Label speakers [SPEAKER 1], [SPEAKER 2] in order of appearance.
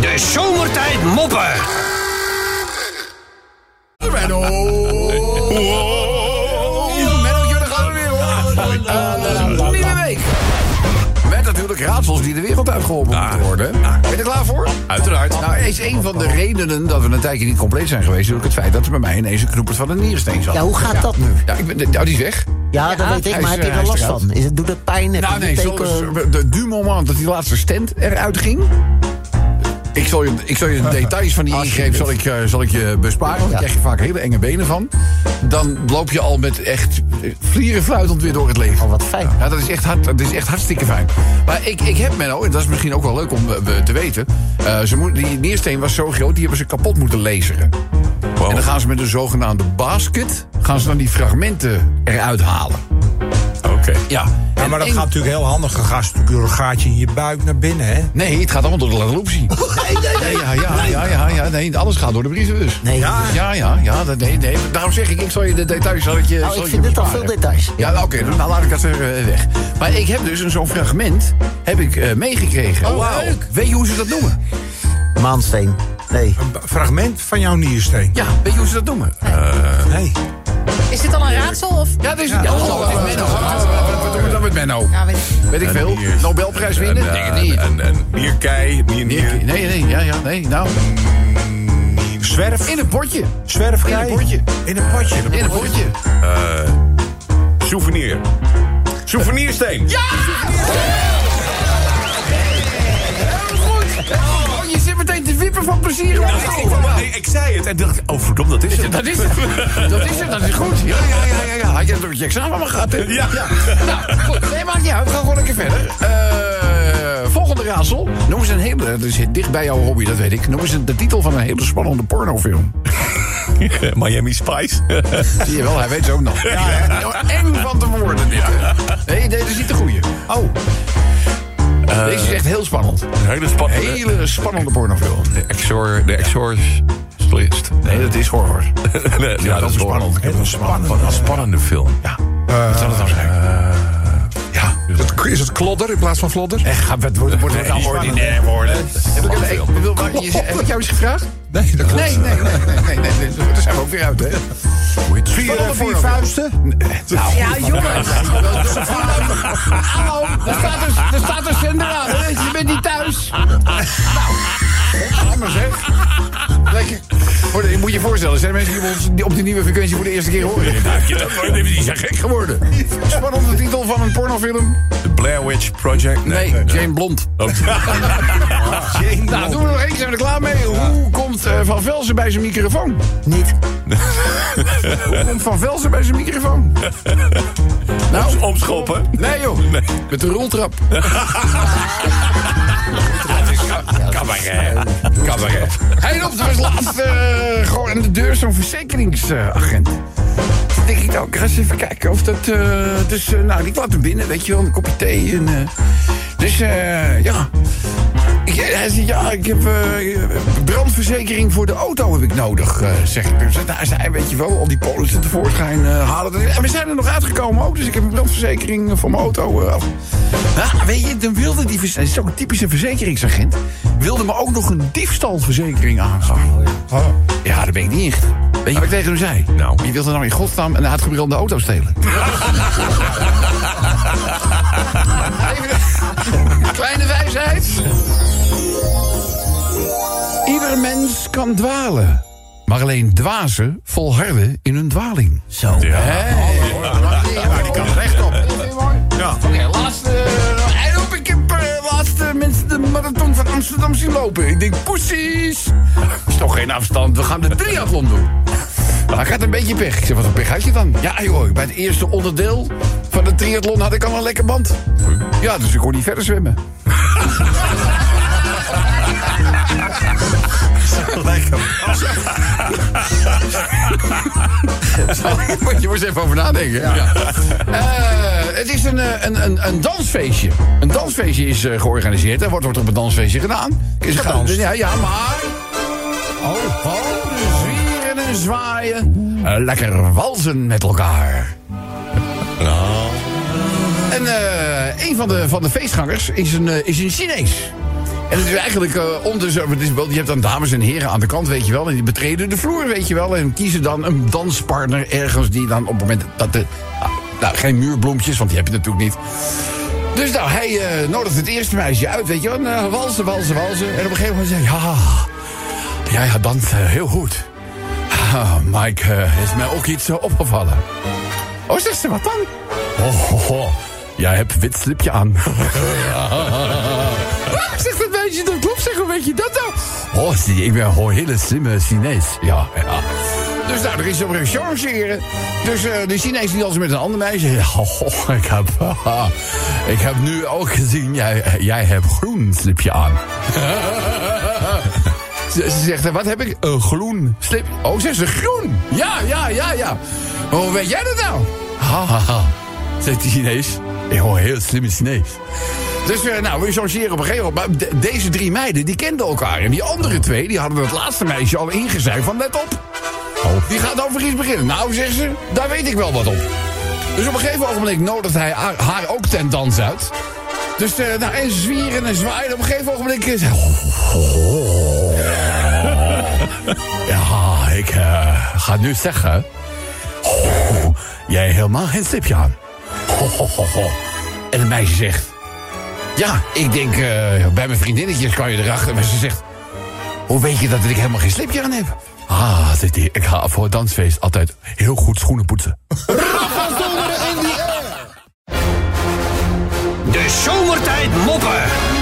[SPEAKER 1] De zomertijd moppen.
[SPEAKER 2] Menno! Wow. Menno, daar gaan we weer hoor. Eh, Nieuwe week. Met natuurlijk raadsels die de wereld uitgeholpen moeten worden. Ben je er klaar voor?
[SPEAKER 3] Uiteraard.
[SPEAKER 2] Nou, is een van de redenen dat we een tijdje niet compleet zijn geweest... natuurlijk het feit dat er bij mij ineens een knoepert van een niersteen zat.
[SPEAKER 4] Ja, hoe gaat dat nu?
[SPEAKER 2] Ja, ik ben, nou, die is weg.
[SPEAKER 4] Ja, dat weet ik,
[SPEAKER 2] hij
[SPEAKER 4] maar
[SPEAKER 2] is,
[SPEAKER 4] heb je
[SPEAKER 2] eh,
[SPEAKER 4] er last
[SPEAKER 2] hij is
[SPEAKER 4] van? Is het, doet het pijn? Heb
[SPEAKER 2] Nou
[SPEAKER 4] je
[SPEAKER 2] nee,
[SPEAKER 4] teken?
[SPEAKER 2] zo, de, du moment dat die laatste stand eruit ging... Ik zal, je, ik zal je de details van die ingreep zal ik, eh, zal ik je besparen. Want daar
[SPEAKER 4] Ja.
[SPEAKER 2] krijg je vaak hele enge benen van. Dan loop je al met echt eh, vlierenfluitend weer door het leven.
[SPEAKER 4] Oh, wat fijn.
[SPEAKER 2] Ja, dat is echt, hard, dat is echt hartstikke fijn. Maar ik, ik heb Menno, en dat is misschien ook wel leuk om eh, te weten... eh, ze moet, die niersteen was zo groot, die hebben ze kapot moeten laseren. En dan gaan ze met een zogenaamde basket... gaan ze dan die fragmenten eruit halen.
[SPEAKER 3] Oké.
[SPEAKER 2] Ja,
[SPEAKER 5] Ja,
[SPEAKER 2] en
[SPEAKER 5] maar dat
[SPEAKER 2] één-
[SPEAKER 5] gaat natuurlijk heel handig. Dan gaat natuurlijk door een gaatje in je buik naar binnen, hè?
[SPEAKER 2] Nee, het gaat allemaal door de interruptie. Nee, ja, ja, ja, ja, ja, nee, alles gaat door de brievenbus.
[SPEAKER 4] Nee.
[SPEAKER 2] Ja, ja, ja, ja dat, nee, nee. Daarom zeg ik, ik zal je de details... Zal ik je,
[SPEAKER 4] Nou,
[SPEAKER 2] zal je
[SPEAKER 4] ik vind dit al
[SPEAKER 2] besparen.
[SPEAKER 4] veel details.
[SPEAKER 2] Ja, nou, oké, dan laat ik dat er eh, weg. Maar ik heb dus een- zo'n fragment heb ik, eh, meegekregen.
[SPEAKER 3] Oh, wauw.
[SPEAKER 2] Leuk. Weet je hoe ze dat noemen?
[SPEAKER 4] Maansteen. Nee.
[SPEAKER 5] Een b- fragment van jouw niersteen.
[SPEAKER 2] Ja, weet je hoe ze dat noemen?
[SPEAKER 5] Nee.
[SPEAKER 6] Is dit al een raadsel? Of...
[SPEAKER 2] Ja, dat is ja, hallo, dit is Menno. Wat doen we dan met Menno?
[SPEAKER 6] Ja, weet ik.
[SPEAKER 2] Weet ik veel.
[SPEAKER 3] Hier is-
[SPEAKER 2] Nobelprijs winnen?
[SPEAKER 3] Een,
[SPEAKER 2] Denk
[SPEAKER 3] eh,
[SPEAKER 2] het niet.
[SPEAKER 3] Een, een nierkei, nier,
[SPEAKER 2] Nee,
[SPEAKER 3] nier,
[SPEAKER 2] nee, nee, ja, ja, nee, nou.
[SPEAKER 5] Zwerf.
[SPEAKER 2] In een potje.
[SPEAKER 5] Zwerfkei.
[SPEAKER 2] in een potje.
[SPEAKER 5] In een potje.
[SPEAKER 2] In een potje.
[SPEAKER 3] souvenir. Souvenirsteen. Ja!
[SPEAKER 2] Oh, je zit meteen te wippen van plezier.
[SPEAKER 3] ik, ik- maar Nou, ik, ik zei het en dacht, oh verdomd, dat is het.
[SPEAKER 2] Dat is het. Dat is het, dat is goed. Ja, ja, ja, ja. ja. Had je dat met je examen maar gehad, hè?
[SPEAKER 3] Ja.
[SPEAKER 2] Nou, goed. Nee, maakt niet uit. We gaan gewoon lekker verder. Eh, volgende raadsel. Noem eens een hele... Dat is dicht bij jouw hobby, dat weet ik. Noem eens een- de titel van een hele spannende pornofilm.
[SPEAKER 3] Miami Spice.
[SPEAKER 2] Zie je wel, hij weet ze ook nog. Ja, hè? Nou, Eng van te worden, dit. hè. Nee, nee, dat is niet de goeie. Oh. Deze is echt heel spannend.
[SPEAKER 3] Een hele spannende.
[SPEAKER 2] Hele spannende pornofilm.
[SPEAKER 3] De Exor... De Exorcist.
[SPEAKER 2] Nee, dat is horror.
[SPEAKER 3] Nee, ja,
[SPEAKER 2] dat is
[SPEAKER 3] hoor.
[SPEAKER 2] spannend. Ik heb
[SPEAKER 3] Wat
[SPEAKER 2] een spannende.
[SPEAKER 3] Een spannende film.
[SPEAKER 2] Ja. Wat zal het nou zijn?
[SPEAKER 3] Eh,
[SPEAKER 5] Is het klodder in plaats van vlodder?
[SPEAKER 2] Echt, gaat- het wordt, wordt het nou ordinair worden. Heb ik, heb, ik bedoel, maar je- heb ik jou eens gevraagd?
[SPEAKER 5] Nee, dat klopt.
[SPEAKER 2] Nee, nee, nee, nee, nee, nee, nee. Daar zijn we ook weer uit, hè?
[SPEAKER 5] Vier, eh, vier
[SPEAKER 2] Spannende
[SPEAKER 5] vuisten?
[SPEAKER 6] Ja, jongens.
[SPEAKER 2] Hallo, er staat een, er staat een zender aan, hè? Je bent niet thuis. Nou, anders, hè? Lekker. Voor de- Je moet je voorstellen, er zijn mensen die ons die op die nieuwe frequentie voor de eerste keer horen.
[SPEAKER 3] Die zijn gek geworden.
[SPEAKER 2] Geworden. Spannende titel van een pornofilm?
[SPEAKER 3] The Blair Witch Project.
[SPEAKER 2] Nee, Oh. Jane Blond. Nou, doen we er nog eentje, zijn we er klaar mee. Hoe komt eh, Van Velzen bij zijn microfoon?
[SPEAKER 4] Niet.
[SPEAKER 2] Hoe komt Van Velzen bij zijn microfoon? Nou,
[SPEAKER 3] Omschoppen.
[SPEAKER 2] nee joh, met de roltrap. eh,
[SPEAKER 3] Cabaret. Cabaret.
[SPEAKER 2] Hij loopt als laatste eh, gewoon aan de deur zo'n verzekeringsagent. Dan denk ik, nou, ik ga eens even kijken of dat... eh, dus, eh, nou, ik laat hem binnen, weet je wel, een kopje thee. En, eh, dus, eh, ja... Ik, hij zegt, ja, ik heb eh, brandverzekering voor de auto heb ik nodig, eh, zeg ik. Dus, nou, hij zei, weet je wel, al die polissen tevoorschijn eh, halen. dat- En we zijn er nog uitgekomen ook, dus ik heb een brandverzekering voor mijn auto. eh, af. Nou, weet je, dan wilde die... verze- Het is ook een typische verzekeringsagent. Wilde me ook nog een diefstalverzekering aangaan. Oh, Ja, daar ben ik niet in. gegaan. Weet je wat ik tegen hem zei?
[SPEAKER 3] Nou.
[SPEAKER 2] Je wilt er nou in godsnaam een uitgebrande auto stelen. Even- Kleine wijsheid. Ieder mens kan dwalen. Maar alleen dwazen volharden in hun dwaling.
[SPEAKER 4] Zo.
[SPEAKER 2] Ja, die kan rechtop. Ja. Oké, laatste. En op, ik heb eh, laatste mensen de marathon van Amsterdam zien lopen. Ik denk, poesies. Is toch geen afstand, we gaan de triathlon doen. Hij gaat een beetje pech. Ik zeg, wat een pech had je dan? Ja, joh, bij het eerste onderdeel van de triathlon had ik al een lekker band. Ja, dus ik kon niet verder zwemmen. Daar moet je eens even over nadenken. Ja. Eh, het is een, eh, een, een, een dansfeestje. Een dansfeestje is eh, georganiseerd. En wat wordt er op een dansfeestje gedaan? Is
[SPEAKER 5] Gedanst.
[SPEAKER 2] Ja, ja, maar... Oh, oh, zwieren en zwaaien. Eh, lekker walsen met elkaar. En eh, een van de, van de feestgangers is een, eh, is een Chinees. En het is eigenlijk eh, om de zo- het is wel, Je hebt dan dames en heren aan de kant, weet je wel. En die betreden de vloer, weet je wel. En kiezen dan een danspartner ergens die dan op het moment dat de. ah, Nou, geen muurbloempjes, want die heb je natuurlijk niet. Dus nou, hij eh, nodigt het eerste meisje uit, weet je wel. En, eh, walsen, walsen, walsen. En op een gegeven moment zei hij, ja, jij gaat dansen eh, heel goed. Ah, Mike, eh, is mij ook iets eh, opgevallen. Oh, zegt ze, wat dan? Oh, ho, ho. jij hebt wit slipje aan. Ah, zegt dat meisje, dat klopt. Zeg, hoe weet je dat nou? Oh, zie, ik ben gewoon een hele slimme Chinees. Ja, ja. Dus nou, er is op een chargeren. Dus eh, de Chinees die als met een ander meisje. Oh, ik heb, haha, ik heb nu ook gezien, jij, jij hebt groen slipje aan. Ze, ze zegt, wat heb ik? Een groen slip. Oh, zegt ze, groen. Ja, ja, ja, ja. Maar hoe weet jij dat nou? Ha, ha, ha. Zegt de Chinees. Ik hoor heel slimme Chinees. Dus eh, nou, we chargeren op een gegeven moment. Maar de- deze drie meiden, die kenden elkaar. En die andere twee, die hadden het laatste meisje al ingezuigd van let op. Die gaat over iets beginnen. Nou, zegt ze, daar weet ik wel wat op. Dus op een gegeven ogenblik nodigt hij haar, haar ook ten dans uit. Dus eh, nou, en ze zwieren en zwaaien. Op een gegeven ogenblik... is. Ja, ik eh, ga nu zeggen. Oh, jij helemaal geen slipje aan. Ho, ho, ho, ho. En het meisje zegt. Ja, ik denk eh, bij mijn vriendinnetjes kan je erachter. Maar ze zegt. Hoe weet je dat ik helemaal geen slipje aan heb? Ah, zegt hij, ik ga voor het dansfeest altijd heel goed schoenen poetsen.
[SPEAKER 1] De zomertijd moppen.